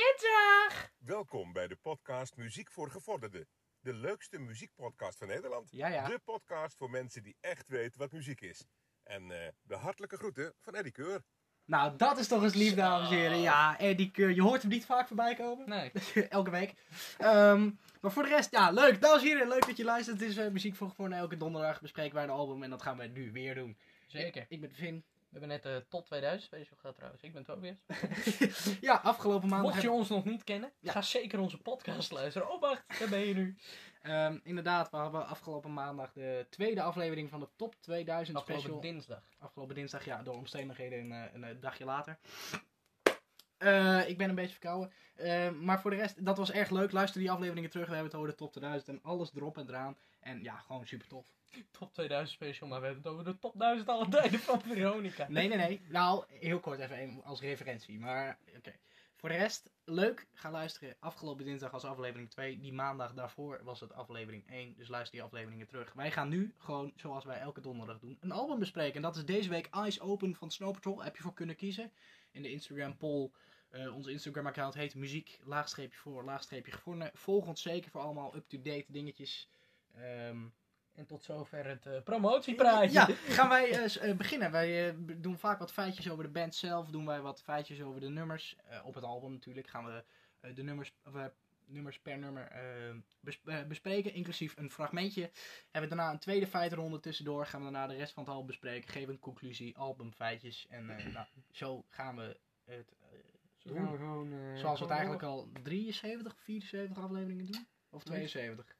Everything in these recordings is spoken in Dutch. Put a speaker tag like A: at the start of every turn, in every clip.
A: Goedemiddag!
B: Welkom bij de podcast Muziek voor Gevorderden. De leukste muziekpodcast van Nederland.
C: Ja, ja.
B: De podcast voor mensen die echt weten wat muziek is. En eh, de hartelijke groeten van Eddie Keur.
C: Nou, dat is toch eens lief, dames en heren. Ja, Eddie Keur. Je hoort hem niet vaak voorbij komen.
D: Nee.
C: elke week. Ehm, maar voor de rest, ja, leuk. Dames en heren, leuk dat je luistert. Het is eh, muziek voor Gevorderden. Elke donderdag bespreken wij een album en dat gaan wij nu weer doen.
D: Zeker.
C: Ik ben Vin.
D: We hebben net de Top 2000 special gehad trouwens. Ik ben Tobias.
C: ja, afgelopen maandag...
D: Mocht je ons nog niet kennen,
C: Ja.
D: ga zeker onze podcast luisteren. Oh wacht, daar ben je nu.
C: Ehm, inderdaad, we hebben afgelopen maandag de tweede aflevering van de Top 2000
D: Afgelopen
C: special.
D: dinsdag.
C: afgelopen dinsdag, ja, door omstandigheden een, eh, een, eh, dagje later. Eh, ik ben een beetje verkouden. Eh, maar voor de rest, dat was erg leuk. Luister die afleveringen terug. We hebben het over de top 2000 en alles erop en eraan. En ja, gewoon super tof.
D: Top 2000 special, maar we hebben het over de Top 1000 alle tijden van Veronica.
C: Nee, nee, nee. Nou, heel kort even een- als referentie. Maar oké. Voor de rest, leuk. Ga luisteren. Afgelopen dinsdag was aflevering 2. Die maandag daarvoor was het aflevering 1. Dus luister die afleveringen terug. Wij gaan nu gewoon, zoals wij elke donderdag doen, een album bespreken. En dat is deze week Eyes Open van Snow Patrol. Heb je voor kunnen kiezen. In de Instagram poll. Eh, onze Instagram account heet muziek, laagstreepje voor, laagstreepje gevonden. Volg ons zeker voor allemaal up-to-date dingetjes. Ehm
D: En tot zover het eh, promotiepraatje.
C: ja, gaan wij eh, s- eh, beginnen. Wij eh, b- doen vaak wat feitjes over de band zelf. Doen wij wat feitjes over de nummers. Eh, op het album natuurlijk gaan we eh, de nummers, of, eh, nummers per nummer eh, bes- eh, bespreken. Inclusief een fragmentje. Hebben we daarna een tweede feitenronde tussendoor. Gaan we daarna de rest van het album bespreken. Geven een conclusie, albumfeitjes. En eh, nou, zo gaan we het... eh,
D: Zo
C: doen.
D: gaan we gewoon, eh,
C: Zoals we het
D: gewoon
C: eigenlijk al 73, 74 afleveringen doen. Of 72.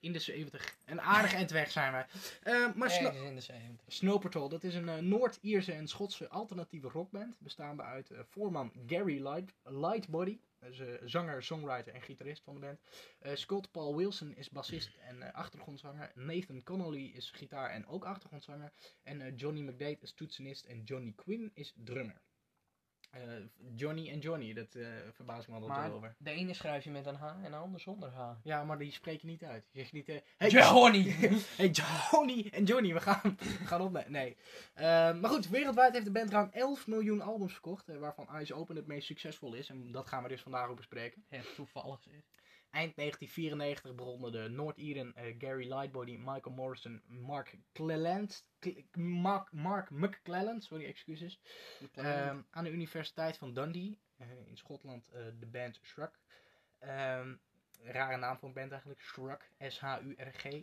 C: In de 70. En aardig eind weg zijn wij. Eh, maar Sno-
D: Ergens in de 70.
C: Snow Patrol, dat is een eh, Noord-Ierse en Schotse alternatieve rockband. Bestaande uit eh, voorman Gary Light, Lightbody. Dat is eh, zanger, songwriter en gitarist van de band. Eh, Scott Paul Wilson is bassist en eh, achtergrondzanger. Nathan Connolly is gitaar en ook achtergrondzanger. En eh, Johnny McDade is toetsenist en Johnny Quinn is drummer. Eh, Johnny en Johnny, dat eh verbaast me altijd wel
D: Maar
C: over.
D: de ene schrijf je met een H en de ander zonder H.
C: Ja, maar die spreek je niet uit. Je zegt niet... eh,
D: Johnny!
C: Hey Johnny en Johnny, we gaan, we gaan op. Nee. Eh, maar goed, wereldwijd heeft de band ruim 11 miljoen albums verkocht. eh, waarvan Eyes Open het meest succesvol is. En dat gaan we dus vandaag ook bespreken.
D: Het toevallig zeg.
C: Eind 1994 begonnen de Noord-Ieren eh, Gary Lightbody, Michael Morrison, Mark Cleland. Cle- Mark, Mark McClelland, sorry, excuses. Ehm, aan de Universiteit van Dundee eh, in Schotland eh, de band Shrug. Ehm, rare naam voor een band eigenlijk. Shrug, S-H-U-R-G.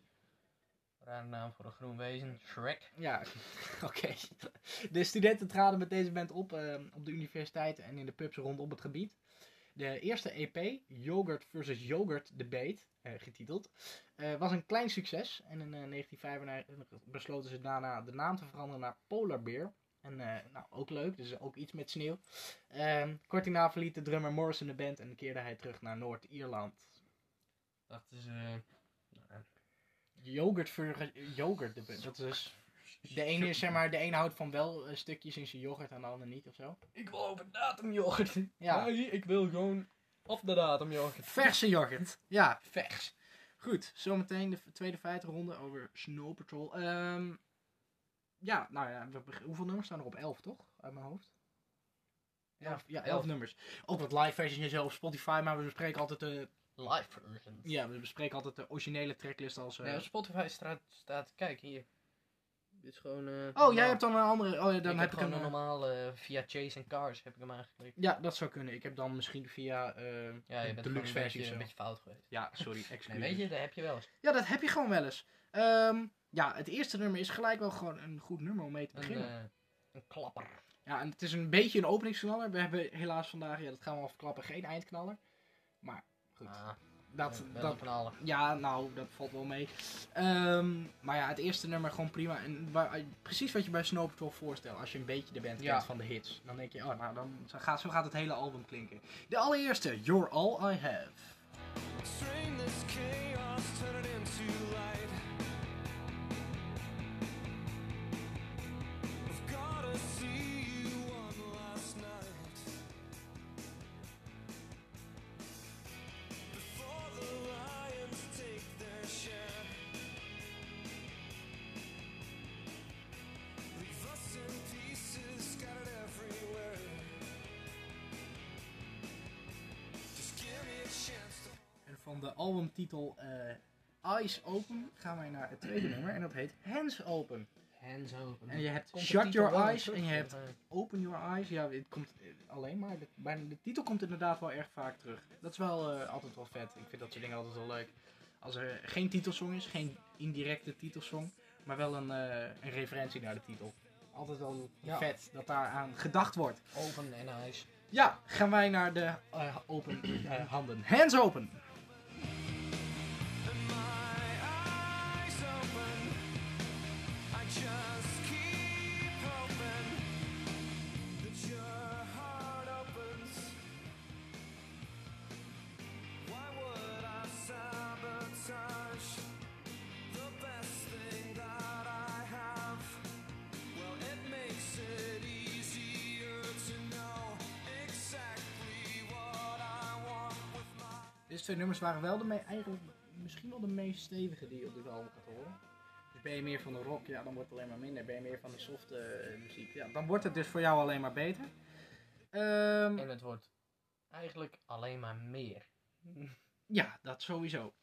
D: Rare naam voor een groen wezen. Shrek.
C: Ja, oké. De studenten traden met deze band op eh, op de universiteit en in de pubs rondom het gebied. De eerste EP, Yogurt vs. Yogurt Debate, eh, getiteld, eh, was een klein succes. En in eh, 1995 besloten ze daarna de naam te veranderen naar Polar Bear. En eh, nou, ook leuk, dus ook iets met sneeuw. Ehm, kort daarna verliet de drummer Morrison de band en keerde hij terug naar Noord-Ierland.
D: Dachten ze... eh,
C: Yogurt vs. Yogurt Debate, dat is dus... De ene, is, zeg maar, de ene houdt van wel eh, stukjes in zijn yoghurt en de ander niet of zo.
D: Ik wil over datum yoghurt.
C: Ja.
D: Nee, ik wil gewoon op de datum yoghurt.
C: Verse yoghurt. Ja,
D: Vers.
C: goed. Zometeen de v- tweede feitenronde over Snow Patrol. Ehm, ja, nou ja, we beg- hoeveel nummers staan er op? Elf, toch? Uit mijn hoofd.
D: Ja,
C: Elf, ja, elf,
D: elf.
C: nummers. Ook wat live versions zelf op Spotify, maar we bespreken altijd de,
D: Live version.
C: ja, we bespreken altijd de originele tracklist als... eh,
D: Nee, op Spotify staat, staat, kijk hier. Dit is gewoon... eh,
C: oh,
D: normaal.
C: jij hebt dan een andere... Oh ja, dan
D: ik
C: heb
D: heb
C: ik
D: gewoon
C: hem... eh,
D: normaal eh, via Chase and Cars heb ik hem aangeklikt.
C: Ja, dat zou kunnen. Ik heb dan misschien via eh
D: Ja, je
C: de
D: bent gewoon
C: deluxe versie
D: een beetje,
C: of zo.
D: een beetje fout geweest.
C: Ja, sorry, excuus.
D: Nee, weet je, dat heb je wel eens.
C: Ja, dat heb je gewoon wel eens. Ehm, ja, het eerste nummer is gelijk wel gewoon een goed nummer om mee te
D: Een,
C: beginnen.
D: eh, een klapper.
C: Ja, en het is een beetje een openingsknaller. We hebben helaas vandaag, ja, dat gaan we al verklappen, geen eindknaller. Maar goed,
D: Ah,
C: dat,
D: eh, wel
C: dat,
D: een knaller.
C: ja, nou, dat valt wel mee. Ehm, maar ja, het eerste nummer gewoon prima. En waar- eh, precies wat je bij Snow Patrol voorstelt. Als je een beetje de band
D: Ja.
C: kent van de hits. Dan denk je, oh, nou, dan, zo, gaat, zo gaat het hele album klinken. De allereerste, You're All I Have.
E: Strain this chaos, turn it into light. I've gotta see you one last night. Before the lions take their share. Leave us in pieces, scattered everywhere.
C: van de albumtitel eh, Eyes Open gaan wij naar het tweede nummer en dat heet Hands Open.
D: En zo.
C: En je hebt
D: Komt de
C: Shut
D: titel
C: Your
D: wel weer
C: Eyes
D: terug,
C: en je hebt
D: eh,
C: Open Your Eyes. Ja, het komt eh, alleen maar, de, bijna, de titel komt inderdaad wel erg vaak terug. Dat is wel eh, altijd wel vet. Ik vind dat soort dingen altijd wel leuk. Als er geen titelsong is, geen indirecte titelsong, maar wel een, eh, een referentie naar de titel. Altijd wel
D: Ja.
C: vet dat daar aan gedacht wordt.
D: Open en Eyes.
C: Ja, gaan wij naar de eh, open eh, handen. Hands open!
E: And my eyes open. I just keep hoping that your heart opens. Why would I sabotage the best thing that I have? Well, it makes it easier to know exactly what I want with my.
C: Deze twee nummers waren wel de me- eigenlijk misschien wel de meest stevige die je op dit album gaat horen. Dus ben je meer van de rock, ja, dan wordt het alleen maar minder. Ben je meer van de soft eh, muziek, ja, dan wordt het dus voor jou alleen maar beter. Ehm,
D: En het wordt eigenlijk alleen maar meer.
C: ja, dat sowieso.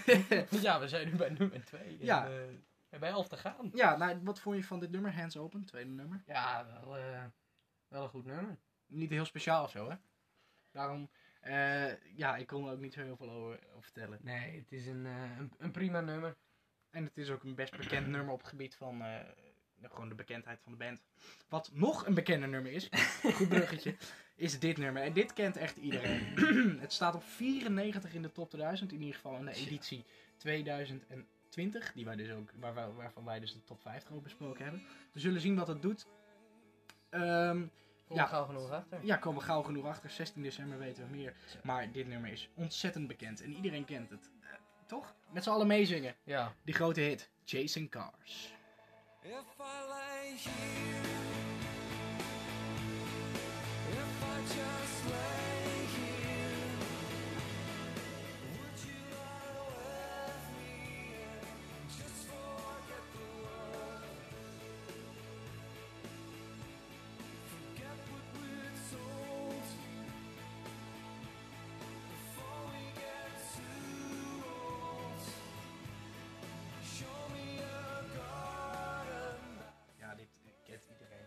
D: ja, we zijn nu bij nummer 2.
C: Ja.
D: En, eh, we hebben helft te gaan.
C: ja, nou, wat vond je van dit nummer? Hands Open, tweede nummer.
D: Ja, wel, eh, wel een goed nummer.
C: Niet heel speciaal of zo, hè? Daarom, eh, ja, ik kon er ook niet zo heel veel over, over vertellen.
D: Nee, het is een, eh, een, een prima nummer.
C: En het is ook een best bekend nummer op het gebied van eh, gewoon de bekendheid van de band. Wat nog een bekender nummer is, goed bruggetje, is dit nummer. En dit kent echt iedereen. het staat op 94 in de top 1000, in ieder geval in de editie 2020, die wij dus ook, waar, waar- waarvan wij dus de top 50 ook besproken hebben. We zullen zien wat het doet. Ehm,
D: Kom
C: Ja.
D: gauw genoeg achter.
C: ja, komen we gauw genoeg achter. 16 december weten we meer. Maar dit nummer is ontzettend bekend en iedereen kent het. Eh, toch? Met z'n allen meezingen.
D: Ja.
C: Die grote hit, Chasing Cars.
E: If I lay here, if I just lay here, would you lie with me and just forget the world? Forget what we're told before we get too old. Show me a garden.
C: Ja, dit kent iedereen.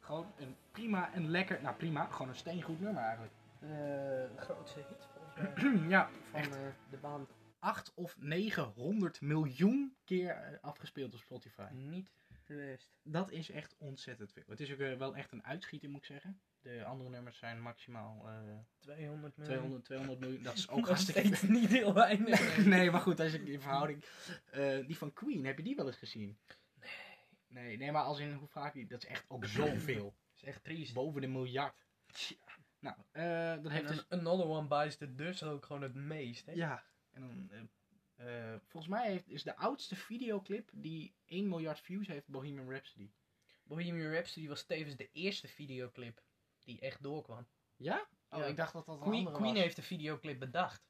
C: Gewoon een prima en lekker, nou prima, gewoon een steengoed nummer eigenlijk.
D: De grootste Eh, hit volgens mij
C: ja,
D: van
C: echt
D: eh, de band.
C: 8 of 900 miljoen keer eh, afgespeeld op Spotify.
D: Niet geweest.
C: Mm. Dat is echt ontzettend veel. Het is ook eh, wel echt een uitschieter moet ik zeggen. De andere nummers zijn maximaal eh,
D: 200 miljoen.
C: 200, 200 miljoen. Dat is
D: Nog
C: ook hartstikke
D: steeds niet heel weinig.
C: nee, maar goed, als je in verhouding. eh, die van Queen, heb je die wel eens gezien? Nee. Nee, nee maar als in hoe vaak die. Dat is echt ook zoveel.
D: is echt triest.
C: Boven de miljard. Nou, eh dat
D: En
C: heeft dus.
D: een- Another One Bites the Dust ook gewoon het meest. Hè?
C: Ja. En dan, eh, eh, volgens mij heeft, is de oudste videoclip die 1 miljard views heeft Bohemian Rhapsody.
D: Bohemian Rhapsody was tevens de eerste videoclip die echt doorkwam.
C: Ja? Oh,
D: Ja.
C: ik dacht dat dat een
D: Queen,
C: andere
D: Queen
C: was.
D: heeft de videoclip bedacht.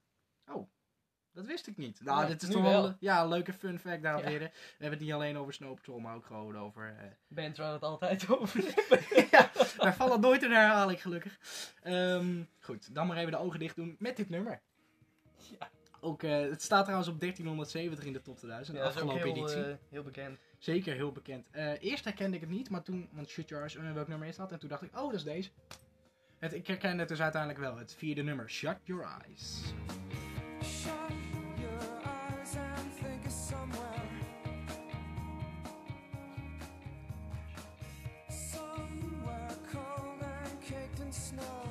C: Dat wist ik niet. Nou,
D: Ja,
C: dit is
D: nu
C: toch wel.
D: wel.
C: Ja, een leuke fun fact daar
D: Ja.
C: weer. We hebben het niet alleen over Snow Patrol, maar ook gewoon over... eh,
D: Bent waar we het altijd over
C: ja, wij vallen nooit in herhaling, gelukkig. Ehm, goed, dan maar even de ogen dicht doen met dit nummer.
D: Ja.
C: Ook, eh, het staat trouwens op 1370 in de top 2000, de afgelopen editie.
D: heel bekend.
C: Zeker, heel bekend. Eh, eerst herkende ik het niet, maar toen, want Shut Your Eyes, eh, welk nummer is dat? En toen dacht ik, oh, dat is deze. Het, ik herkende het dus uiteindelijk wel, het vierde nummer, Shut Your Eyes.
E: Shut your eyes and think of somewhere. Somewhere cold and caked in snow.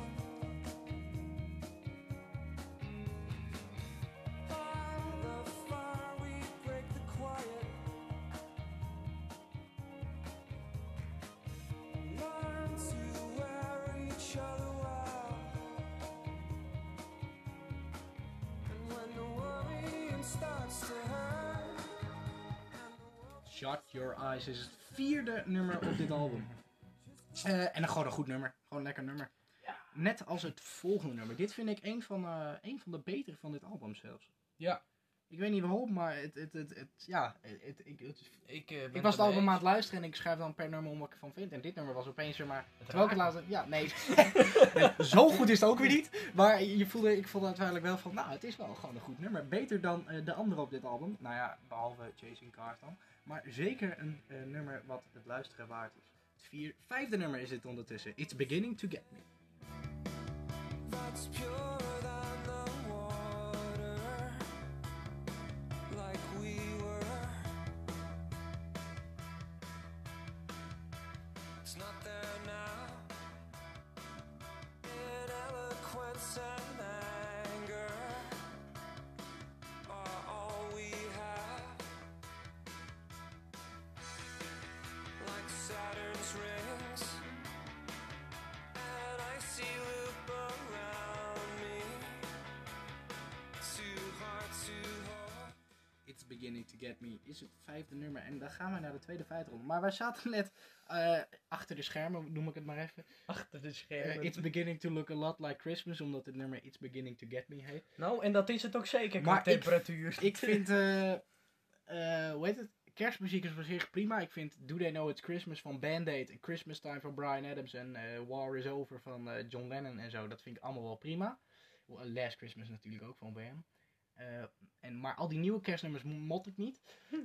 E: By the fire, we break the quiet. Learn to wear each other well. And when the worrying starts to hurt,
C: Shut Your Eyes is het vierde nummer op dit album. Eh, en dan gewoon een goed nummer. Gewoon een lekker nummer. Net als het volgende nummer. Dit vind ik een van, eh, een van de betere van dit album zelfs.
D: Ja.
C: Ik weet niet waarom, maar het, het, het, het- ja, het, ik, het-
D: Ik, eh, ben
C: ik was het album
D: erbij.
C: aan het luisteren en ik schrijf dan per nummer om wat ik ervan vind. En dit nummer was opeens weer maar,
D: Het
C: terwijl ik het laatste, ja, nee, Nee, zo goed is het ook weer niet. Maar je voelde, ik voelde uiteindelijk wel van, nou, het is wel gewoon een goed nummer. Beter dan eh, de andere op dit album. Nou ja, behalve Chasing Cars dan. Maar zeker een eh, nummer wat het luisteren waard is. Het vier, vijfde nummer is dit ondertussen. It's Beginning to Get Me.
E: That's purer than the water, like we were. It's not there now. In eloquence and anger are all we have. Like Saturn's rings. And I see loop around me. Too hard to hold.
C: It's Beginning to Get Me is het vijfde nummer. En dan gaan we naar de tweede feitronde. Maar wij zaten net eh, achter de schermen, noem ik het maar even.
D: Achter de
C: Eh,
D: schermen.
C: it's Beginning to Look a Lot Like Christmas, omdat het nummer It's Beginning to Get Me heet.
D: Nou, en dat is het ook zeker qua
C: Maar ik-
D: temperatuur.
C: Ik vind, eh, eh, hoe heet het? Kerstmuziek is op zich prima. Ik vind Do They Know It's Christmas van Band-Aid, en Christmas Time van Brian Adams en eh, War Is Over van eh, John Lennon en zo. Dat vind ik allemaal wel prima. Well, Last Christmas natuurlijk ook van Wham. Eh, en, maar al die nieuwe kerstnummers mo- mot ik niet.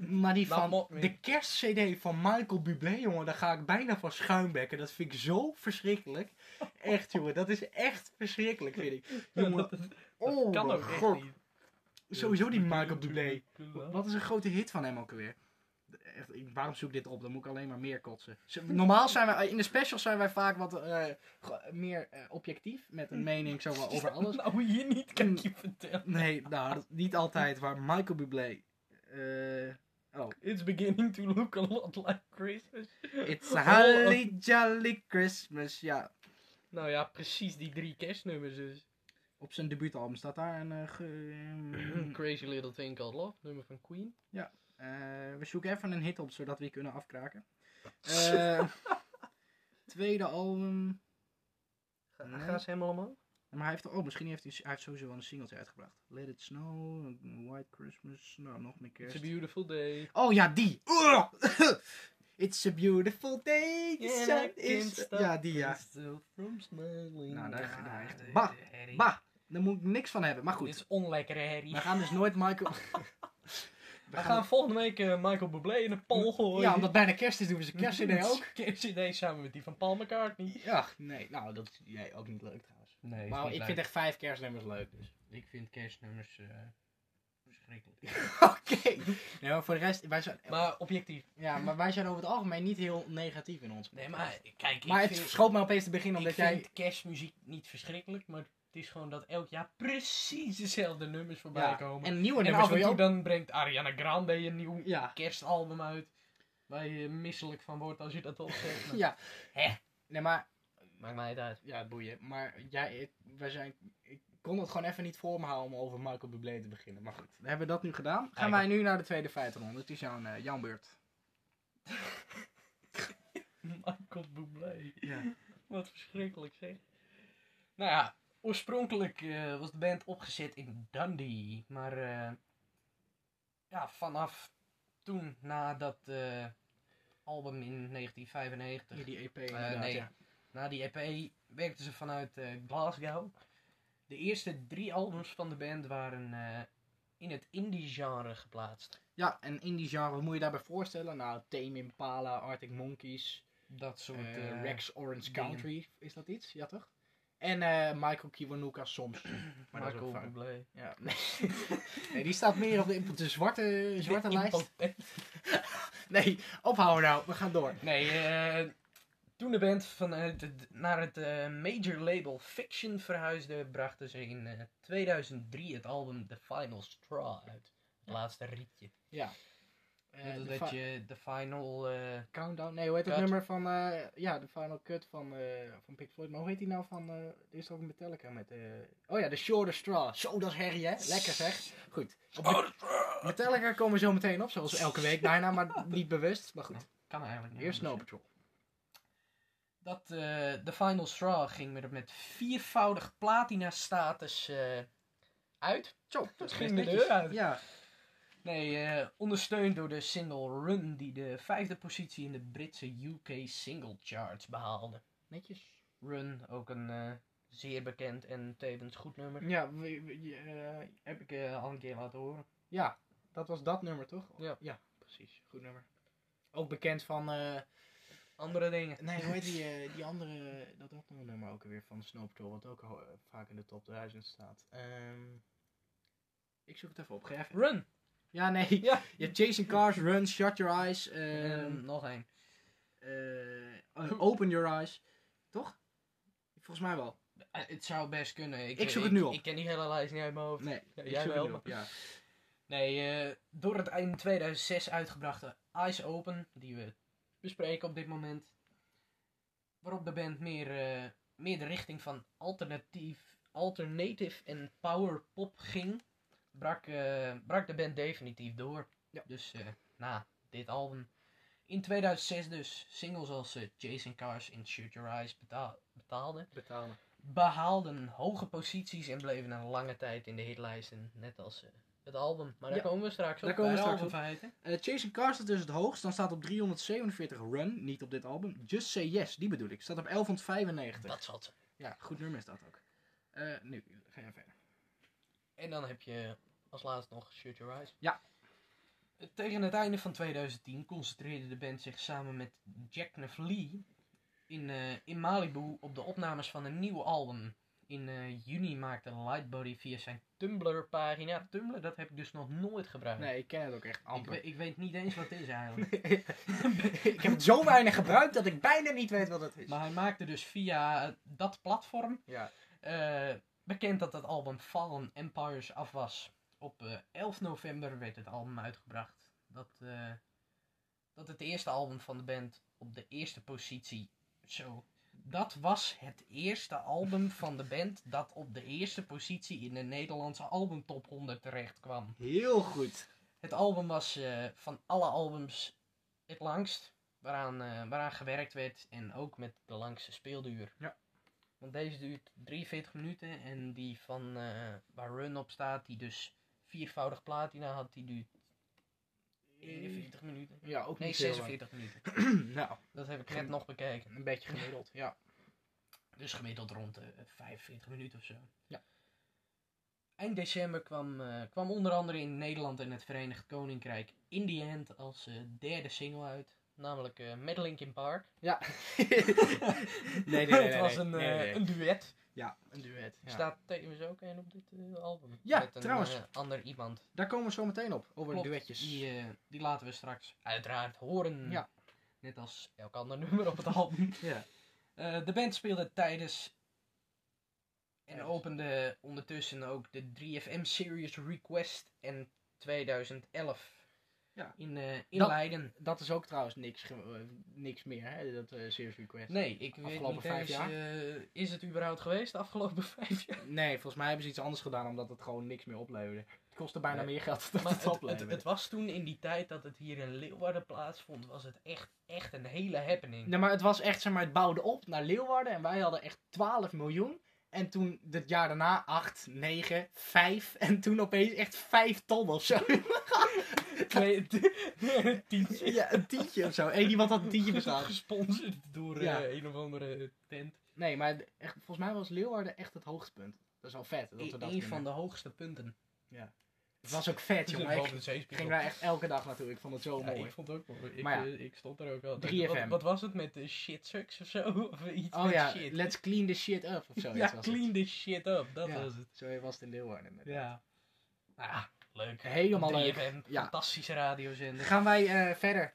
C: Maar die
D: Dat
C: van
D: mot me.
C: de kerstcd van Michael Bublé, jongen, daar ga ik bijna van schuimbekken. Dat vind ik zo verschrikkelijk. Echt, jongen, dat is echt verschrikkelijk, vind ik. Jongen, oh,
D: kan
C: mijn
D: ook echt
C: god.
D: niet.
C: Sowieso die Michael Bublé. Wat is een grote hit van hem ook alweer? Echt, ik- waarom zoek ik dit op? Dan moet ik alleen maar meer kotsen. Z- Normaal zijn wij, in de specials zijn wij vaak wat eh, ge- meer eh, objectief. Met een mening zo wel over alles. Mm.
D: Nou, hier niet, kan ik je vertellen.
C: Nee, nou, dat- niet altijd. Maar Michael Bublé. eh,
D: It's beginning to look a lot like Christmas.
C: it's a holly jolly Christmas. Ja,
D: Nou ja, precies die drie kerstnummers dus.
C: op zijn debuutalbum staat daar een... eh, ge-
D: Crazy Little Thing Called Love, nummer van Queen.
C: Eh, we zoeken even een hit op, zodat we je kunnen afkraken. Eh, tweede album...
D: Ga,
C: Nee.
D: Gaan ze helemaal omhoog?
C: Ja, Maar hij heeft, oh, misschien heeft hij, hij heeft sowieso wel een singeltje uitgebracht. Let It Snow, White Christmas, nou, nog meer
D: It's a
C: kerst.
D: beautiful day.
C: Oh ja, die! Ugh. It's a beautiful day, the
D: Yeah,
C: sun
D: I
C: is-
D: can't stop
C: Ja, die ja. Nou,
D: Nou,
C: daar- daar echt- Bah, Bah, daar moet ik niks van hebben, maar
D: Dit
C: goed.
D: is onlekkere herrie.
C: We gaan dus nooit Michael...
D: We gaan volgende week eh, Michael Bublé in een pol gooien.
C: Ja, omdat bijna kerst is, doen we ze kerstcd ook.
D: Kerstidee samen met die van Paul McCartney.
C: Ja, nee, nou, dat is jij ook niet leuk trouwens.
D: Nee,
C: Maar ik vind echt vijf kerstnummers leuk, dus.
D: ik vind kerstnummers verschrikkelijk.
C: Oké. Nee, maar voor de rest, wij zijn...
D: Maar objectief.
C: Ja, maar wij zijn over het algemeen niet heel negatief in ons.
D: Nee, maar kijk,
C: Maar
D: ik
C: het
D: vind,
C: schoot me opeens te beginnen
D: ik
C: omdat
D: vind
C: jij...
D: kerstmuziek niet verschrikkelijk, maar het is gewoon dat elk jaar precies dezelfde nummers voorbij
C: Ja,
D: komen.
C: En nieuwe
D: En,
C: nummers
D: af
C: wil
D: en
C: je
D: toe
C: ook...
D: dan brengt Ariana Grande een nieuw
C: Ja.
D: kerstalbum uit. Waar je misselijk van wordt als je dat opzet. maar-
C: Ja.
D: Hè?
C: Nee, maar...
D: Maakt mij het uit.
C: Ja, boeien. Maar jij... Ik, wij zijn... Ik kon het gewoon even niet voor me houden om over Michael Bublé te beginnen. Maar goed, dan hebben we dat nu gedaan. Gaan
D: Eigenlijk.
C: wij nu naar de tweede feitenronde. Het is jouw, eh, jouw beurt.
D: Michael Bublé.
C: Ja.
D: Wat verschrikkelijk zeg. Nou ja, oorspronkelijk eh, was de band opgezet in Dundee. Maar eh, ja, vanaf toen, na dat eh, album in 1995,
C: Die EP
D: Eh,
C: inderdaad,
D: nee.
C: ja.
D: na die EP, werkten ze vanuit eh, Glasgow. De eerste drie albums van de band waren eh, in het indie-genre geplaatst.
C: Ja, en in die genre, wat moet je daarbij voorstellen? Nou, Tame Impala, Arctic Monkeys,
D: Dat soort
C: eh,
D: eh,
C: Rex Orange
D: dingen.
C: Country. Is dat iets? Ja, toch? En eh, Michael Kiwanuka soms. Maar dat is ook
D: Michael
C: vaak.
D: Bublé.
C: Ja, nee. nee. Die staat meer op de, op Dus de zwarte, zwarte
D: De
C: lijst.
D: impotent-
C: Nee, ophouden nou. We gaan door.
D: Nee, eh, toen de band vanuit het, naar het eh, major label Fiction verhuisde, brachten ze in eh, 2003 het album The Final Straw uit. Het laatste rietje.
C: Ja.
D: Net als
C: Eh, de
D: dat
C: fi-
D: je de final... eh,
C: Countdown. Nee, hoe heet dat
D: Cut.
C: nummer van... eh, ja, de Final Cut van, eh van Pink Floyd. Maar hoe heet die nou van... eh, Er is ook een Metallica met... eh, oh ja, The Shorter Straw. Zo, dat is herrie, hè? Lekker zeg. Goed. Op de- Metallica komen we zo meteen op, zoals elke week bijna. Maar niet bewust. Maar goed.
D: kan eigenlijk niet.
C: Eerst Snow
D: anders, hè.
C: Patrol.
D: Dat eh, The Final Straw ging met, met viervoudig platina status eh, uit.
C: Zo, dat
D: ging
C: best
D: de
C: netjes.
D: deur uit.
C: Ja.
D: Nee, eh, ondersteund door de single Run, die de vijfde positie in de Britse UK Single Charts behaalde.
C: Netjes.
D: Run, ook een eh, zeer bekend en tevens goed nummer.
C: Ja, we- we- je, eh,
D: Heb ik eh, al een keer laten horen.
C: ja, dat was dat nummer toch?
D: Ja.
C: precies. Goed nummer. Ook bekend van. eh,
D: Andere dingen.
C: nee, hoe heet die, eh, die andere. Dat andere nummer ook weer van Snoop Dogg, wat ook ho- eh, vaak in de top 1000 staat. Ehm, ik zoek het even op, Geef.
D: Run!
C: Ja, nee.
D: Ja.
C: Je hebt Chasing Cars, Run, Shut Your Eyes,
D: En
C: ehm,
D: nog één.
C: eh, eh, Open Your Eyes. Toch? Volgens mij wel.
D: Eh, het zou best kunnen. Ik,
C: Ik zoek
D: eh,
C: het nu op.
D: Ik ken die hele lijst niet uit mijn hoofd.
C: Nee,
D: Ja,
C: ik
D: jij
C: zoek
D: wel,
C: het nu
D: maar-
C: op, Ja.
D: Nee, eh, door het eind 2006 uitgebrachte Eyes Open, die we bespreken op dit moment, waarop de band meer, eh, meer de richting van alternatief, alternative en power pop ging, brak, eh, brak de band definitief door.
C: Ja.
D: Dus eh, na dit album. In 2006 dus singles als eh, Jason Cars en Shoot Your Eyes betaal- betaalden
C: Betalen.
D: behaalden hoge posities en bleven een lange tijd in de hitlijsten, net als eh, het album. Maar daar
C: Ja.
D: komen we straks op.
C: Daar komen we
D: bij
C: straks
D: album
C: op.
D: feiten.
C: Eh, Chasing Cars staat dus het hoogst. Dan staat op 347 Run, niet op dit album. Just Say Yes, die bedoel ik. Staat op 1195.
D: Dat zal het zijn.
C: Ja, goed nummer is dat ook. Eh, nu, ga jij verder.
D: En dan heb je als laatste nog Shut Your Eyes.
C: Ja.
D: Tegen het einde van 2010 concentreerde de band zich samen met Jack Lee in, eh, in Malibu op de opnames van een nieuw album. In eh, juni maakte Lightbody via zijn Tumblr pagina. Tumblr, dat heb ik dus nog nooit gebruikt.
C: Nee, ik ken het ook echt
D: ik,
C: amper.
D: we- ik weet niet eens wat het is eigenlijk.
C: ik heb het zo weinig gebruikt dat ik bijna niet weet wat het is.
D: Maar hij maakte dus via dat platform
C: ja.
D: eh, bekend dat het album Fallen Empires af was. Op eh, 11 november werd het album uitgebracht. Dat, eh, dat het eerste album van de band op de eerste positie. Zo. Dat was het eerste album van de band dat op de eerste positie in de Nederlandse albumtop 100 terecht kwam.
C: Heel goed.
D: Het album was eh, van alle albums het langst waaraan, eh, waaraan gewerkt werd en ook met de langste speelduur.
C: Ja.
D: Want deze duurt 43 minuten en die van eh, waar Run op staat, die dus viervoudig platina had, die duurt 41 minuten.
C: Ja, ook
D: Nee,
C: niet heel lang.
D: 46 minuten.
C: nou,
D: Dat heb ik net nog bekeken.
C: een beetje gemiddeld, ja.
D: Dus gemiddeld rond de 45 minuten of zo.
C: Ja.
D: Eind december kwam, eh, kwam onder andere in Nederland en het Verenigd Koninkrijk In The End als eh, derde single uit. Namelijk eh met Linkin Park.
C: Ja. nee, nee, nee. nee,
D: het was
C: nee,
D: een,
C: nee,
D: eh,
C: nee, nee.
D: een duet.
C: Ja, een duet. ja.
D: Staat tevens ook een op dit eh, album.
C: Ja,
D: Met een,
C: trouwens.
D: eh, ander iemand.
C: Daar komen we zo meteen op, over
D: Klopt,
C: de duetjes.
D: Die, eh, die laten we straks uiteraard horen.
C: Ja.
D: Net als elk ander nummer op het album.
C: Ja.
D: Eh, de band speelde tijdens en
C: Tijdens.
D: opende ondertussen ook de 3FM Series Request en 2011
C: Ja.
D: in, eh, in
C: Dat-
D: Leiden.
C: Dat is ook trouwens niks, ge- eh, niks meer, hè, dat eh Serious Request.
D: Nee, ik weet
C: Afgelopen
D: niet
C: vijf
D: eens,
C: jaar?
D: eh, is het überhaupt geweest de afgelopen vijf jaar?
C: Nee, volgens mij hebben ze iets anders gedaan omdat het gewoon niks meer opleverde. Het kostte bijna
D: Nee.
C: meer geld dan
D: Maar
C: het,
D: het, het,
C: opleverde.
D: het was toen in die tijd dat het hier in Leeuwarden plaatsvond, was het echt, echt een hele happening.
C: Nee, maar het was echt, zeg maar, het bouwde op naar Leeuwarden en wij hadden echt 12 miljoen. En toen, het jaar daarna, 8, 9, 5 en toen opeens echt 5 ton of zo.
D: Twee, tientje.
C: ja, een tientje of zo. Eén iemand had een tientje betaald.
D: Gesponsord door eh,
C: Ja. E-
D: een of andere tent.
C: Nee, maar echt, volgens mij was Leeuwarden echt het hoogtepunt. Dat is wel vet dat we dat
D: Eén
C: kunnen.
D: van de hoogste punten.
C: Het was ook vet, jongen. Ik
D: de zeespiegel.
C: ging daar echt elke dag naartoe. Ik vond het zo
D: Ja,
C: mooi.
D: ik vond het ook mooi. Ik,
C: Maar ja.
D: eh, ik stond er ook al.
C: 3FM.
D: Wat, wat was het met de shit sucks of zo? Of iets
C: Oh
D: met
C: ja,
D: shit.
C: let's clean the shit up of zo.
D: ja,
C: was
D: clean the shit up. Dat
C: Ja.
D: was het.
C: Het. Zo was het in Leeuwarden. inderdaad.
D: Ja. Ah, leuk.
C: Helemaal
D: 3FM,
C: leuk. Ja.
D: Fantastische radiozender.
C: Gaan wij eh, verder.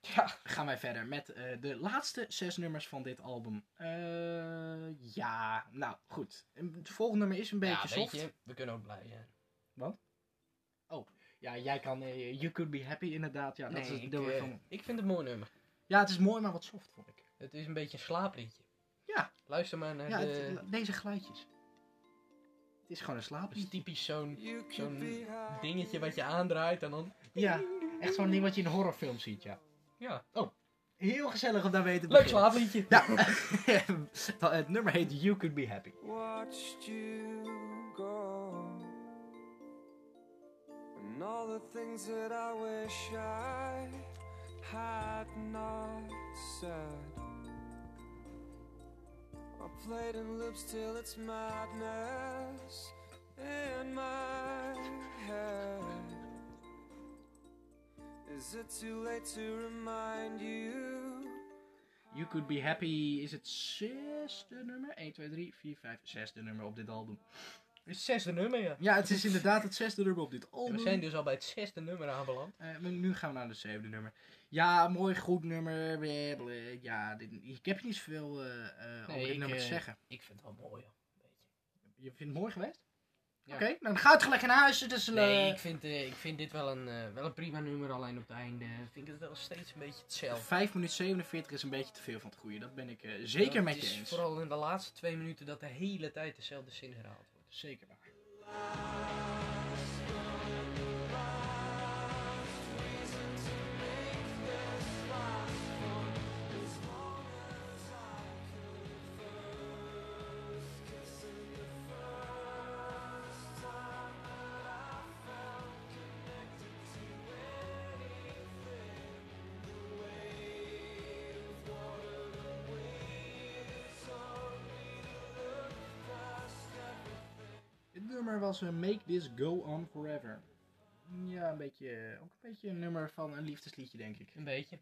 D: Ja.
C: Gaan wij verder met eh, de laatste zes nummers van dit album. Eh, ja, nou goed. En Het volgende nummer is een beetje
D: ja,
C: soft.
D: weet je, we kunnen ook blij zijn.
C: Ja, jij kan eh, You Could Be Happy inderdaad. Ja, dat is het
D: ik,
C: nummer
D: eh,
C: van...
D: ik vind het een mooi nummer.
C: Ja, het is mooi, maar wat soft vond ik.
D: Het is een beetje een slaapliedje.
C: Ja.
D: Luister maar naar
C: Ja,
D: de...
C: het- deze geluidjes. Het is gewoon een
D: dat is
C: slaapje.
D: typisch zo'n
E: You
D: Zo'n
E: could be high.
D: dingetje wat je aandraait en dan...
C: Ja, echt zo'n ding wat je in een horrorfilm ziet, ja.
D: Ja,
C: Heel gezellig om daarmee te
D: leuk
C: beginnen.
D: slaapliedje.
C: Ja, het nummer heet You Could Be Happy.
E: watched you go and all the the things that I wish I had not said. I played in loops till it's madness in my head. Is it too late to remind you?
C: You Could Be Happy is het zesde nummer. 1, 2, 3, 4, 5, zesde nummer op dit album.
D: Het zesde nummer, ja.
C: Ja, het is inderdaad het zesde nummer op dit
D: En
C: album.
D: we zijn dus al bij het zesde nummer aanbeland.
C: Eh, maar nu gaan we naar het zevende nummer. Ja, mooi, goed nummer. bleh, bleh. Ja, dit, ik heb hier niet zoveel eh, eh, over dit
D: ik,
C: nummer te
D: eh,
C: zeggen.
D: Ik vind het wel mooi, joh. Weet je.
C: Je vindt het mooi geweest?
D: Ja.
C: Oké, nou, dan gaat het gelijk in huis. Dus, eh,
D: Nee, ik vind, eh, ik vind dit wel een, eh, wel een prima nummer, alleen op het einde vind ik het wel steeds een beetje hetzelfde.
C: 5 minuten 47 is een beetje te veel van het goede. Dat ben ik eh, zeker
D: Ja,
C: met
D: het
C: je
D: is
C: eens.
D: Vooral in de laatste twee minuten dat de hele tijd dezelfde zin herhaald wordt.
C: Zeker waar. Dit nummer was eh, Make This Go On Forever. Ja, een beetje, eh, ook een beetje een nummer van een liefdesliedje, denk ik.
D: Een beetje.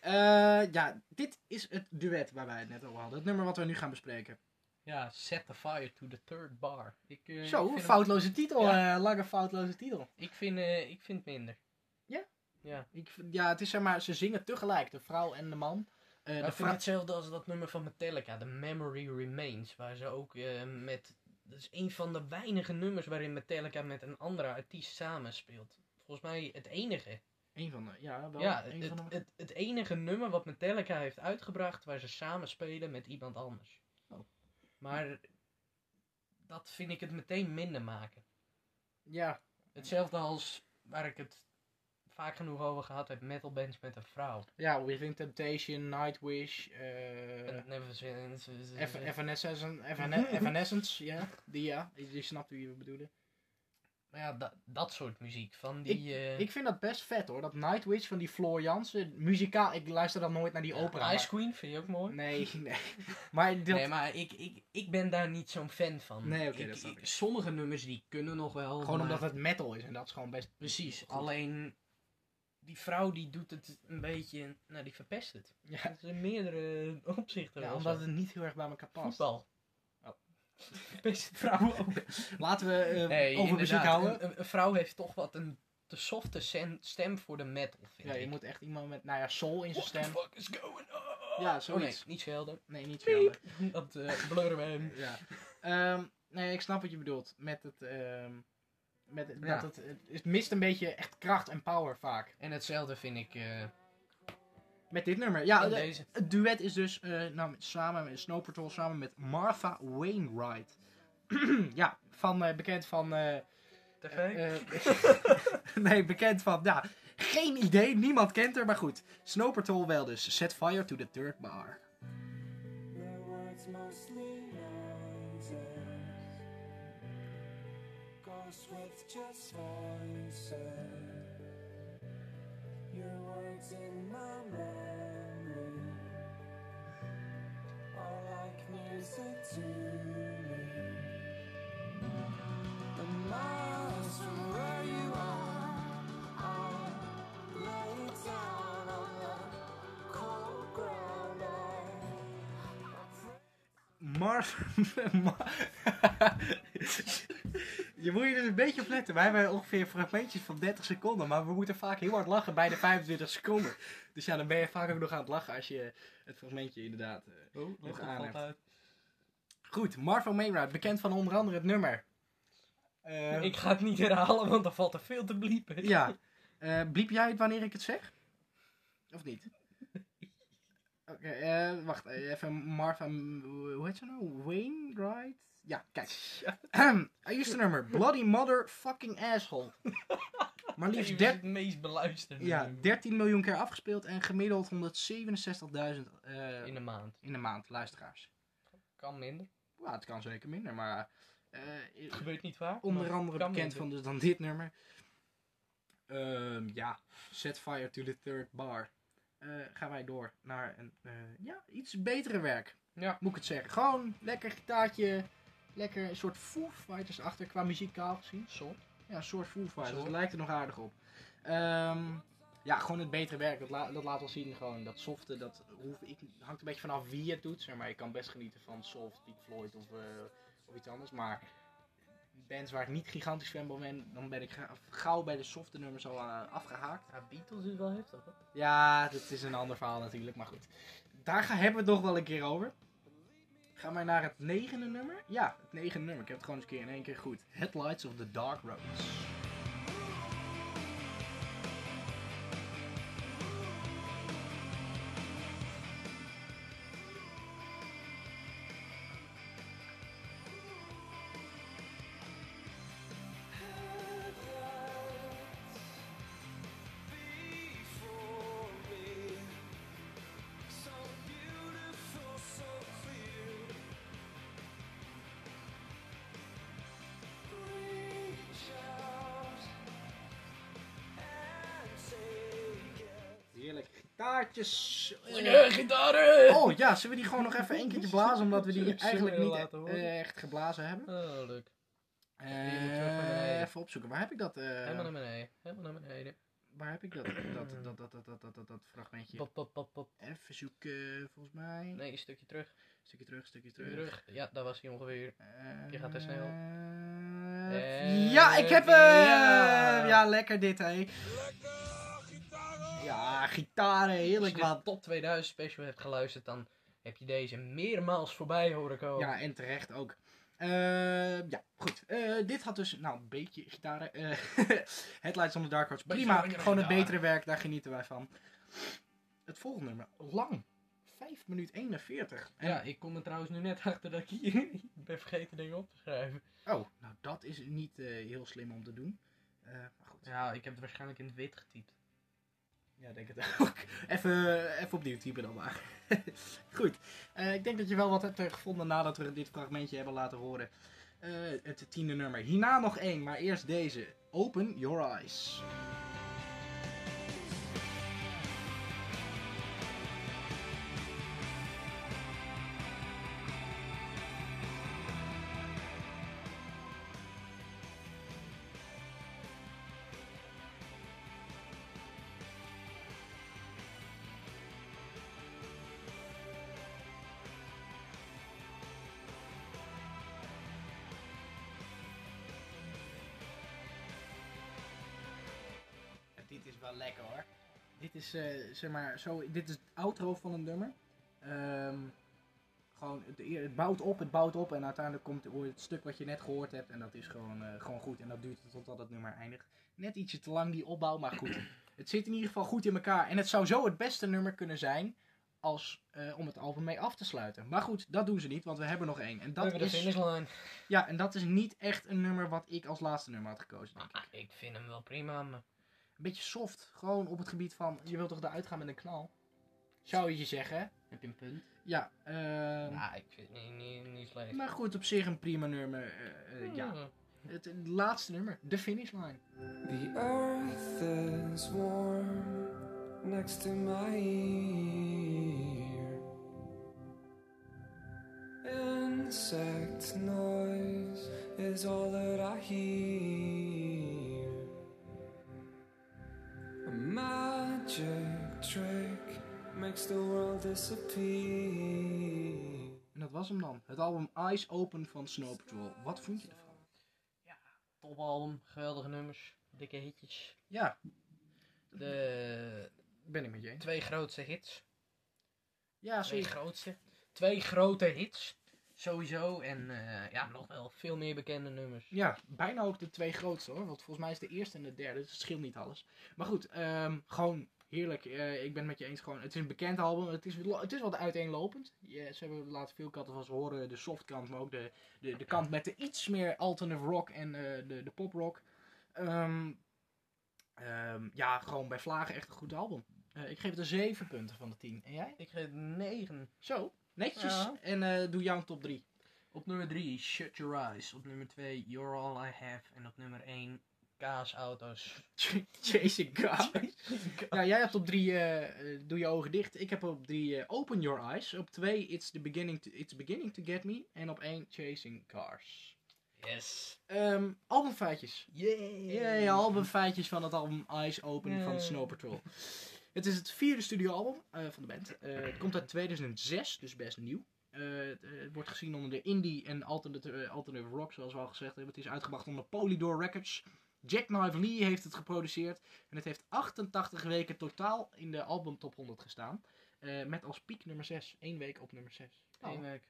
C: Eh, ja, dit is het duet waar wij het net over hadden. Het nummer wat we nu gaan bespreken.
D: Ja, set the fire to the third bar. Ik, eh, ik
C: Zo,
D: vind
C: foutloze titel.
D: Ja.
C: eh, lange foutloze titel.
D: hem- ik, vind, eh, ik vind het minder.
C: Ja?
D: Ja.
C: Ik, vind- ja, het is zeg maar, ze zingen tegelijk, de vrouw en de man. Eh,
D: Maar
C: de
D: ik vind
C: vrouw...
D: hetzelfde als dat nummer van Metallica, The Memory Remains. Waar ze ook eh, met... Dat is een van de weinige nummers waarin Metallica met een andere artiest samenspeelt. Volgens mij het enige.
C: Een van de, ja, wel.
D: ja,
C: een
D: het,
C: van de...
D: het, het enige nummer wat Metallica heeft uitgebracht waar ze samen spelen met iemand anders.
C: Oh.
D: Maar dat vind ik het meteen minder maken.
C: ja,
D: Hetzelfde als waar ik het vaak genoeg over gehad heb, metal bands met een vrouw.
C: ja, Within Temptation, Nightwish, eh,
D: En Never Since-
C: Ev- Evanescence, Evane- Evanescence, ja. Die ja, je snapt wie we bedoelen.
D: Maar Nou ja, da- dat soort muziek. Van die... eh
C: Ik vind dat best vet hoor, dat Nightwish van die Floor Jansen, muzikaal, ik luister dan nooit naar die opera.
D: Ice Queen vind je ook mooi.
C: maar- Nee, nee. Maar dat,
D: Nee, maar ik, ik, ik ben daar niet zo'n fan van.
C: Nee, oké, dat snap ik.
D: Sommige nummers die kunnen nog wel.
C: Gewoon
D: maar-
C: omdat het metal is en dat is gewoon best.
D: Precies,
C: goed.
D: alleen die vrouw die doet het een beetje, nou die verpest het.
C: Ja,
D: Dat is in meerdere opzichten.
C: ja,
D: wel
C: omdat
D: zo.
C: het niet heel erg bij elkaar past.
D: voetbal.
C: Oh.
D: Verpest vrouwen ook.
C: Laten we eh,
D: Nee,
C: over muziek
D: inderdaad, Eh,
C: houden.
D: Een, een- een vrouw heeft toch wat een te softe sen- stem voor de metal, vind
C: Ja,
D: ik.
C: je moet echt iemand met, nou ja, soul in zijn
D: What the
C: stem.
D: fuck is going on?
C: Ja, zoiets.
D: Oh, nee, niet zelden.
C: Nee, niet veel.
D: Dat eh blurren we hem.
C: Ja. Ehm, nee, ik snap wat je bedoelt. Met het, ehm, met het,
D: Ja.
C: dat het, het- het mist een beetje echt kracht en power vaak.
D: En hetzelfde vind ik eh,
C: Met dit nummer. Ja,
D: in
C: de-
D: deze.
C: het duet is dus eh, nou, met- samen met Snow Patrol, samen met Martha Wainwright. ja, van, eh, bekend van... eh, eh, nee, bekend van... Ja, geen idee, niemand kent haar, maar goed. Snow Patrol wel dus. Set fire to the third bar.
E: Their words mostly nonsense. Ghosts with just voices. Your words in my memory are like music to me. The miles from where you are, I lay down on the cold ground. I
C: Mars. Ma- je moet je dus een beetje op letten. Wij hebben ongeveer fragmentjes van 30 seconden. Maar we moeten vaak heel hard lachen bij de 25 seconden. Dus ja, dan ben je vaak ook nog aan het lachen als je het fragmentje inderdaad. eh.
D: Oh,
C: nog
D: nog
C: aan
D: een
C: hebt. Goed, Marvel Wainwright, bekend van onder andere het nummer. Eh,
D: Ik ga het niet herhalen, want dan valt er veel te bliepen.
C: Ja. Eh bliep jij het wanneer ik het zeg? Of niet? Oké, eh, wacht. eh, Even Martha... m- Hoe heet ze nou? Wainwright? Ja, kijk. Eerste nummer. Bloody mother fucking asshole. Maar
D: Die
C: liefst
D: is
C: 13,
D: het meest beluisterde
C: ja,
D: nummer
C: 13 miljoen keer afgespeeld en gemiddeld 167.000 eh,
D: in de maand.
C: in de maand luisteraars.
D: Kan minder.
C: Ja, het kan zeker minder, maar... eh,
D: Gebeurt niet waar.
C: onder andere bekend van dus dan dit nummer. Ehm, ja, set fire to the third bar. Eh, gaan wij door naar een eh, ja, iets betere werk.
D: Ja.
C: Moet ik het zeggen. Gewoon lekker gitaartje. Lekker een soort Foo Fighters achter qua muzikaal gezien.
D: Soort.
C: Ja, een soort Foo Fighters.
D: Soort.
C: Dat lijkt er nog aardig op. Ehm, ja, gewoon het betere werk. Dat, la- dat laat wel zien. Gewoon dat softe, dat hoef ik, hangt een beetje vanaf wie het doet. Zeg maar ik kan best genieten van soft, Pink Floyd of, eh, of iets anders. Maar bands waar ik niet gigantisch fan van ben, dan ben ik ga- gauw bij de softe nummers al eh, afgehaakt.
D: Ja, Beatles is wel heftig hoor.
C: Ja, dat is een ander verhaal natuurlijk, maar goed. Daar gaan, hebben we het nog wel een keer over. Gaan wij naar het negende nummer? Ja, het negende nummer. Ik heb het gewoon eens een keer in één keer goed. Headlights of the Dark Roads.
E: before me. So beautiful, so clear. Reach out and take it.
C: Heerlijk. Gitaartjes.
D: Ja, gitaren!
C: Oh ja, zullen we die gewoon nog even één keertje blazen? Omdat we die
D: Zullen we
C: eigenlijk niet
D: laten horen?
C: eh, echt geblazen hebben.
D: Oh, leuk. Die moet terug naar
C: Eh
D: beneden.
C: even opzoeken. Waar heb ik dat? eh,
D: Helemaal naar beneden. Helemaal naar beneden.
C: waar heb ik dat, dat, dat, dat, dat, dat, dat, dat, dat fragmentje?
D: Pop, pop, pop, pop.
C: Even zoeken, volgens mij.
D: Nee, een stukje terug.
C: Stukje terug, stukje terug.
D: Terug. Ja, daar was hij ongeveer. Je gaat er snel.
C: Eh, ja, ik heb hem!
D: Ja.
C: Ja. lekker dit, hé. Ja, gitaren,
D: Als je
C: heerlijk,
D: de
C: man.
D: top 2000 special hebt geluisterd, dan heb je deze meermaals voorbij horen komen.
C: Ja, en terecht ook. Eh, ja, goed. Eh, dit had dus, nou, een beetje gitaren. Eh, Headlights on the Dark Horse.
D: Beetje
C: Prima,
D: minder
C: gewoon het
D: gitaren.
C: betere werk, daar genieten wij van. Het volgende nummer, lang. 5 minuut 41. En,
D: Ja, ik kom er trouwens nu net achter dat ik hier ben vergeten dingen op te schrijven.
C: Oh, nou dat is niet eh, heel slim om te doen. Eh, maar goed.
D: Ja, ik heb het waarschijnlijk in het wit getypt.
C: Ja, ik denk het ook. Even, even opnieuw typen dan maar. Goed. Eh, ik denk dat je wel wat hebt eh, gevonden nadat we dit fragmentje hebben laten horen. Eh, het tiende nummer. Hierna nog één, maar eerst deze. Open Your Eyes. Dit is wel lekker hoor. Dit is, eh, zeg maar, zo, dit is het outro van een nummer. Ehm, gewoon, het, het bouwt op, het bouwt op en uiteindelijk komt hoor je het stuk wat je net gehoord hebt. En dat is gewoon, eh, gewoon goed. En dat duurt totdat het nummer eindigt. Net ietsje te lang die opbouw, maar goed. Het zit in ieder geval goed in elkaar. En het zou zo het beste nummer kunnen zijn als, eh, om het album mee af te sluiten. Maar goed, dat doen ze niet, want we hebben nog één. En
D: Dat
C: dat,
D: hebben de
C: is,
D: finishlijn.
C: ja, en dat is niet echt een nummer wat ik als laatste nummer had gekozen. Denk ik.
D: Ah, ik vind hem wel prima, maar...
C: Een beetje soft. Gewoon op het gebied van, je wilt toch eruit gaan met een knal? Zou je zeggen.
D: Heb je een punt?
C: Ja, ehm,
D: Nou, ik vind het niet, niet, niet slecht.
C: maar goed, op zich een prima nummer. eh, eh, ja.
D: Hmm.
C: Het, het laatste nummer, de finish line.
E: The earth is warm next to my ear. Insect noise is all that I hear. A magic trick makes the world disappear.
C: En dat was hem dan. Het album Eyes Open van Snow Patrol. Wat vond je ervan?
D: Topalbum, geweldige nummers, dikke hitjes.
C: Ja,
D: De
C: ben ik met je eens.
D: twee grootste hits.
C: Ja,
D: Twee
C: zeker.
D: grootste. Twee grote hits. Sowieso. En eh, ja, nog wel veel meer bekende nummers.
C: Ja, bijna ook de twee grootste hoor. Want volgens mij is de eerste en de derde. Dus het scheelt niet alles. Maar goed, ehm, gewoon heerlijk. Eh, ik ben het met je eens. Gewoon, het is een bekend album. Het is, wel- het is wat uiteenlopend. Je- ze hebben laten veel kanten van ze horen. De softkant, maar ook de, de, de kant met de iets meer alternative rock en eh, de, de poprock. Ehm, ehm, ja, gewoon bij vlagen echt een goed album. Eh, ik geef het een 7 punten van de 10. En jij?
D: Ik geef 9.
C: Zo, netjes.
D: Ja.
C: En eh, doe jouw top 3.
D: Op nummer 3, Shut Your Eyes. Op nummer 2, You're All I Have. En op nummer 1, kaasauto's.
C: Chasing God. nou, jij hebt op drie eh, eh, Doe je ogen dicht. Ik heb op drie eh, Open Your Eyes. Op twee It's, the beginning to, It's Beginning to Get Me. En op één Chasing Cars.
D: Yes.
C: Ehm, albumfeitjes.
D: Yay.
C: Jee, albumfeitjes van het album Eyes Open van
D: Yay.
C: Snow Patrol. Het is het vierde studioalbum eh, van de band. Eh, het komt uit 2006, dus best nieuw. Eh, het, eh, het wordt gezien onder de indie en alternative, eh, alternative rock, zoals we al gezegd hebben. Het is uitgebracht onder Polydor Records. Jackknife Lee heeft het geproduceerd. En het heeft 88 weken totaal in de album top 100 gestaan. Eh, met als piek nummer 6. Eén week op nummer 6.
D: Eén week.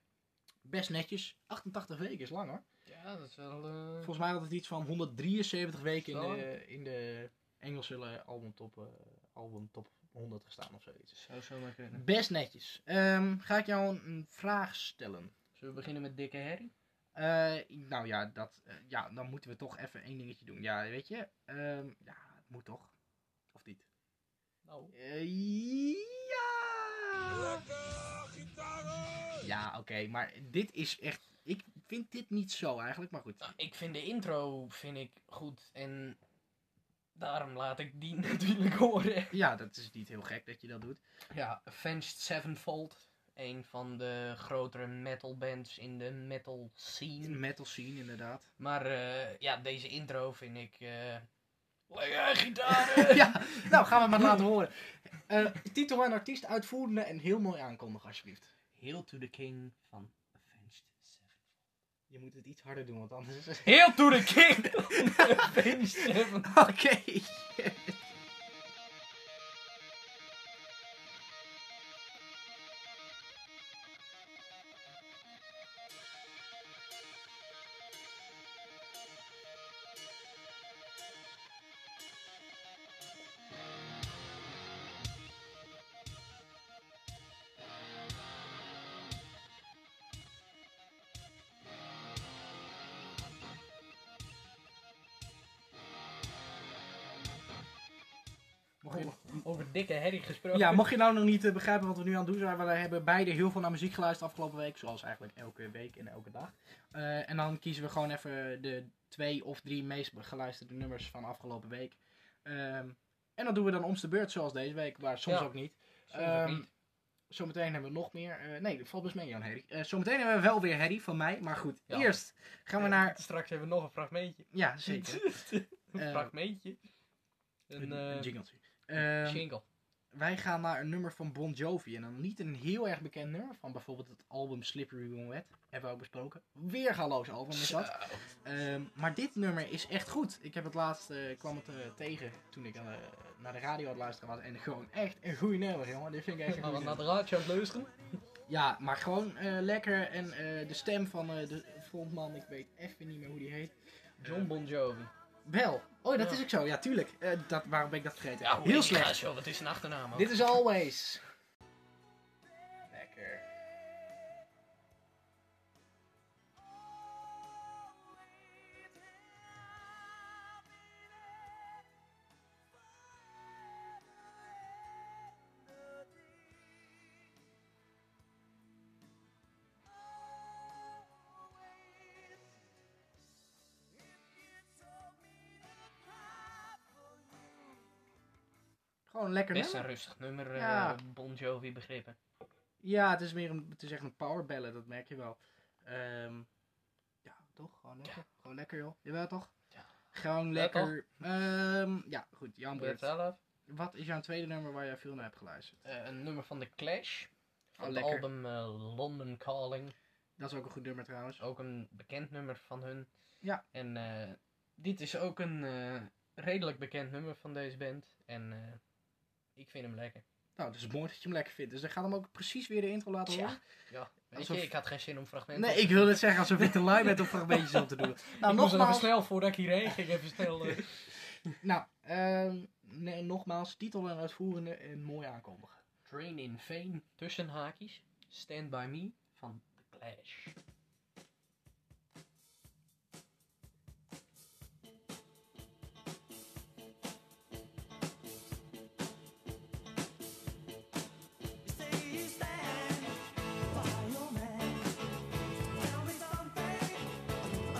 C: Best netjes. 88 weken is lang hoor.
D: Ja, dat is wel... eh,
C: Volgens mij had het iets van 173 weken in
D: Zo.
C: de, in de Engelse albumtop, eh album top 100 gestaan of zoiets.
D: Zou zomaar kunnen.
C: Best netjes. Ehm, ga ik jou een, een vraag stellen?
D: Zullen we beginnen met Dikke Harry?
C: Eh, nou ja, dat, eh, ja, dan moeten we toch even één dingetje doen. Ja, weet je, ehm, ja, het moet toch? Of niet?
D: Nou.
C: Eh, ja! Ja, oké, maar dit is echt... Ik vind dit niet zo eigenlijk, maar goed.
D: Nou, ik vind de intro vind ik goed en daarom laat ik die natuurlijk horen.
C: Ja, dat is niet heel gek dat je dat doet.
D: Ja, Avenged Sevenfold. Een van de grotere metal bands in de metal
C: In
D: scene.
C: de metal scene, inderdaad.
D: Maar eh, ja, deze intro vind ik... eh Lekker gitaren!
C: ja, nou gaan we maar laten horen. Eh, titel en artiest uitvoerende en heel mooi aankondigen, alsjeblieft.
D: Hail to the King van Avenged Sevenfold.
C: Je moet het iets harder doen, want anders. Oké.
D: Hail to the King van Avenged Sevenfold. Mocht je- Over Dikke Harry gesproken.
C: Ja, mocht je nou nog niet eh, begrijpen wat we nu aan het doen zijn, we hebben beide heel veel naar muziek geluisterd afgelopen week, zoals eigenlijk elke week en elke dag. Eh, en dan kiezen we gewoon even de twee of drie meest geluisterde nummers van afgelopen week. Ehm, en dat doen we dan om de beurt, zoals deze week, maar soms
D: Ja.
C: ook niet.
D: Soms ook
C: Ehm,
D: niet.
C: Zometeen hebben we nog meer. eh, nee, dat valt best mee, Jan Harry. Eh, zometeen hebben we wel weer Harry van mij. Maar goed,
D: Ja.
C: eerst gaan we
D: Ja,
C: naar.
D: Straks hebben we nog een fragmentje.
C: Ja, zeker.
D: een
C: Eh,
D: fragmentje. Een
C: Een,
D: eh,
C: een jingletje. Ehm,
D: jingle.
C: wij gaan naar een nummer van Bon Jovi. En dan niet een heel erg bekend nummer. Van bijvoorbeeld het album Slippery When Wet. Hebben we ook besproken. Weergaloos album is dat. Ehm, maar dit nummer is echt goed. Ik heb het laatst, eh, kwam het eh, tegen toen ik aan de- naar de radio aan het luisteren was. En gewoon echt een goede nummer, jongen. Dit vind ik echt een
D: Gaan we
C: goede
D: naar Oh, de radio aan het luisteren?
C: Ja, maar gewoon eh, lekker. En eh, de stem van eh, de frontman, ik weet even niet meer hoe die heet.
D: John Bon Jovi.
C: Wel. Oh, dat
D: Ja.
C: is ook zo. Ja, tuurlijk. Eh, dat, waarom ben ik dat vergeten? Heel slecht.
D: Joh, wat is een achternaam
C: Dit is Always. Lekker. Gewoon een lekker
D: Best
C: nummer.
D: een rustig nummer, eh,
C: Ja.
D: Bon Jovi begrippen.
C: Ja, het is meer een, het is echt een powerbellen, dat merk je wel. Ehm, ja, toch? Gewoon lekker. Gewoon lekker, joh. Jawel, toch?
D: Ja.
C: Gewoon
D: Ja, toch?
C: lekker. Ehm, ja, goed. Jan
D: Nummer
C: Beurt.
D: 12.
C: Wat is jouw tweede nummer waar jij veel naar hebt geluisterd?
D: Eh, een nummer van The Clash. Van
C: Oh,
D: het
C: lekker.
D: album eh, London Calling.
C: Dat is ook een goed nummer trouwens.
D: Ook een bekend nummer van hun.
C: Ja.
D: En eh, dit is ook een eh, redelijk bekend nummer van deze band. En eh, ik vind hem lekker.
C: Nou, het is mooi dat je hem lekker vindt. Dus dan gaat hem ook precies weer de intro laten
D: Tja,
C: horen.
D: Ja, weet
C: Alsof-
D: je, ik had geen zin om fragmenten.
C: Nee, ik wil het zeggen alsof ik te lui ben om fragmentjes op te doen. Nou,
D: moest er even
C: nogmaals.
D: snel voordat ik hierheen ging. Even snel. eh,
C: Nou, ehm, nee, nogmaals. Titel en uitvoerende en mooi aankondigen.
D: Train in Vain, tussen haakjes. Stand By Me van The Clash.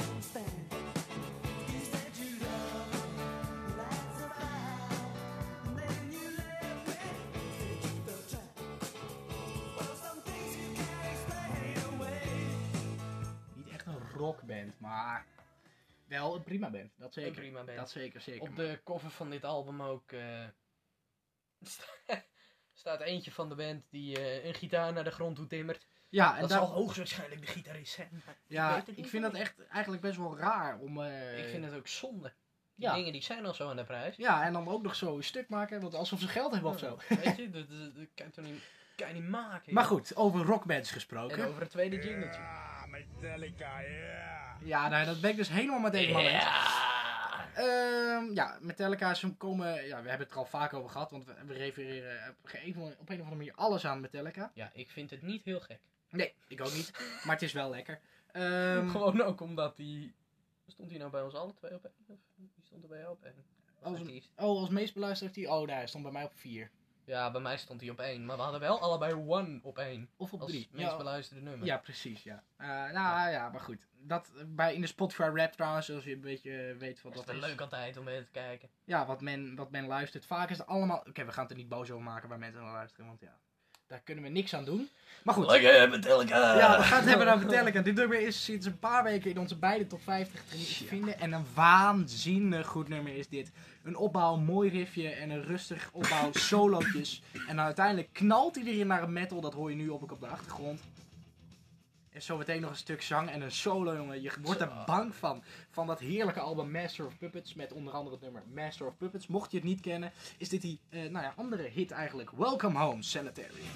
E: Understand. You said you love
C: band, maar wel een prima band. Dat zeker.
D: Een prima band.
C: Dat zeker, zeker.
D: Op de cover van dit album ook eh, sta- staat eentje van de band die eh, een gitaar naar de grond doet timmert.
C: ja, en
D: dat
C: daar-
D: zal hoogstwaarschijnlijk de gitarist zijn. maar
C: ja,
D: weet het
C: ik
D: niet
C: vind
D: hoor.
C: dat echt eigenlijk best wel raar om... eh,
D: ik vind het ook zonde. Die
C: ja.
D: dingen die zijn al zo aan de prijs.
C: Ja, en dan ook nog zo een stuk maken, want alsof ze geld hebben of zo.
D: Weet je, dat, dat, dat kan je toch niet, kan je niet maken.
C: Maar
D: joh.
C: goed, over rockbands
D: En
C: gesproken.
D: over het tweede jingletje.
B: Metallica, ja.
C: Ja, nou, dat ben ik dus helemaal met deze man eens.
D: Ja.
C: Ehm, ja, Metallica, ze komen... Ja, we hebben het er al vaak over gehad, want we we refereren op een op een of andere manier alles aan Metallica.
D: ja, ik vind het niet heel gek.
C: Nee, ik ook niet, maar het is wel lekker. Ehm,
D: Gewoon ook omdat die... Stond hij nou bij ons alle twee op één? Of wie stond er bij jou op één?
C: als,
D: Artiest.
C: oh, als meest beluisterd heeft hij... Oh, daar stond bij mij op 4.
D: Ja, bij mij stond hij op één. Maar we hadden wel allebei One op één.
C: Of op
D: Als
C: 3.
D: meest beluisterde nummer.
C: Ja, precies, ja. Eh, nou ja, maar goed. Dat, eh, bij, in de Spotify rap trouwens, zoals je een beetje eh, weet wat
D: dat is
C: dat,
D: wel leuk altijd om mee te kijken.
C: Ja, wat men, wat men luistert. Vaak is het allemaal... Oké, we gaan het er niet boos over maken waar mensen naar luisteren, want ja, daar kunnen we niks aan doen. Maar goed.
D: Lekker, eh, Metallica!
C: Ja, we gaan het hebben over Metallica. Dit nummer is sinds een paar weken in onze beide top 50 te vinden. En een waanzinnig goed nummer is dit. Een opbouw, een mooi riffje en een rustig opbouw, solootjes. En dan uiteindelijk knalt hij erin naar een metal. Dat hoor je nu op, op de achtergrond. En zometeen nog een stuk zang en een solo, jongen. Je wordt er
D: Zo.
C: bang van. Van dat heerlijke album Master of Puppets. Met onder andere het nummer Master of Puppets. Mocht je het niet kennen, is dit die eh, nou ja, andere hit eigenlijk. Welcome Home, Sanitary.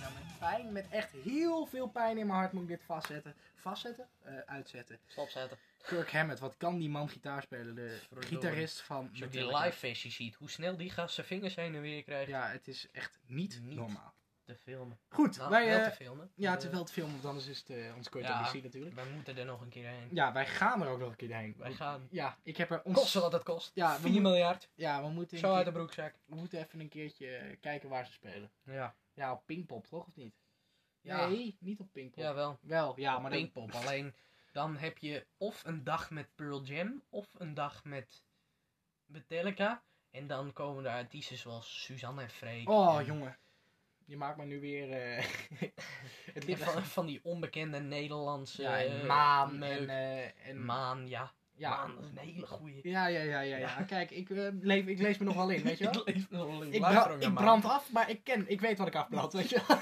C: Ja, met pijn, met echt heel veel pijn in mijn hart moet ik dit vastzetten. Vastzetten? Eh, uitzetten.
D: Stopzetten.
C: Kirk Hammett, wat kan die man gitaar spelen? De
D: Verdorie.
C: gitarist van
D: Als je ook die
C: Metallica.
D: live versie ziet, hoe snel die gast zijn vingers heen en weer krijgt.
C: Ja, het is echt niet,
D: Niet.
C: normaal.
D: Te filmen.
C: Goed,
D: Nou,
C: wij...
D: wel
C: eh,
D: te filmen.
C: ja, het is
D: Eh,
C: wel te filmen, want anders is het eh ons kort
D: Ja.
C: zien natuurlijk.
D: Wij moeten er nog een keer heen.
C: Ja, wij gaan er ook nog een keer heen.
D: Wij gaan.
C: Ja, ik heb er ons...
D: Kosten wat het kost.
C: Ja, we
D: 4
C: moeten-
D: miljard.
C: Ja, we moeten, een
D: Zo uit de
C: keer-
D: broekzak.
C: we moeten even een keertje eh, kijken waar ze spelen.
D: Ja.
C: Ja, op Pinkpop toch, of niet?
D: Ja.
C: Nee, niet op Pinkpop.
D: Jawel.
C: Wel, ja, maar dan-
D: Pinkpop. Alleen dan heb je of een dag met Pearl Jam of een dag met Metallica. En dan komen er artiesten zoals Suzanne en Freek.
C: Oh,
D: en
C: jongen. Je maakt me nu weer... eh, het ligt
D: Van, van die onbekende Nederlandse.
C: Ja, en
D: eh,
C: maan en,
D: meuk.
C: eh, en
D: Maan, ja.
C: ja.
D: Maan, dat is een hele goeie.
C: Ja, ja, ja, ja, ja. Kijk, ik, eh, leef, ik lees me nog wel in, weet je wel?
D: Ik leef nog wel in.
C: Ik,
D: Luister
C: bra-
D: ook naar
C: ik
D: Maan.
C: brand af, maar ik ken, ik weet wat ik afbrand, weet je wel?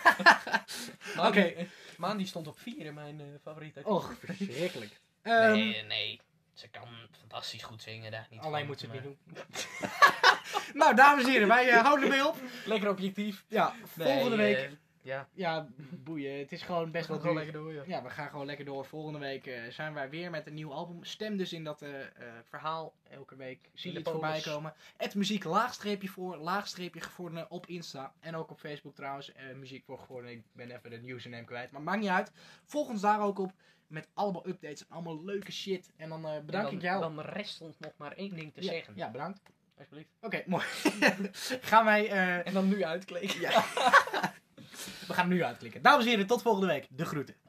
D: Maan
C: Oké.
D: die- eh, Maan die stond op 4 in mijn eh, favoriete.
C: Och, verschrikkelijk. Ehm,
D: Nee, nee. Ze kan fantastisch goed zingen, daar niet
C: alleen
D: van, eh,
C: moet ze het
D: maar-
C: niet doen. nou, dames en heren, wij eh, houden ermee op.
D: Lekker objectief.
C: Ja, volgende
D: Nee,
C: week.
D: eh, ja,
C: ja, boeien. Het is gewoon best
D: best wel
C: wel
D: gewoon
C: duur.
D: lekker door, joh.
C: Ja, we gaan gewoon lekker door. Volgende week eh, zijn wij weer met een nieuw album. Stem dus in dat eh, eh, verhaal. Elke week zie je
D: de
C: het voorbij
D: polls.
C: komen. Het muziek laagstreepje voor, laagstreepje gevorderen op Insta. En ook op Facebook trouwens. eh, muziek voor gevorderen. Ik ben even de username kwijt. Maar maakt niet uit. Volg ons daar ook op. Met allemaal updates en allemaal leuke shit. En dan eh, bedank
D: dan,
C: ik jou.
D: Dan rest ons nog maar één ding te
C: ja,
D: zeggen.
C: Ja, bedankt.
D: Alsjeblieft.
C: Oké, mooi. gaan wij... eh,
D: En dan nu uitkleden.
C: ja. we gaan hem nu uitklikken. Dames en heren, tot volgende week. De groeten.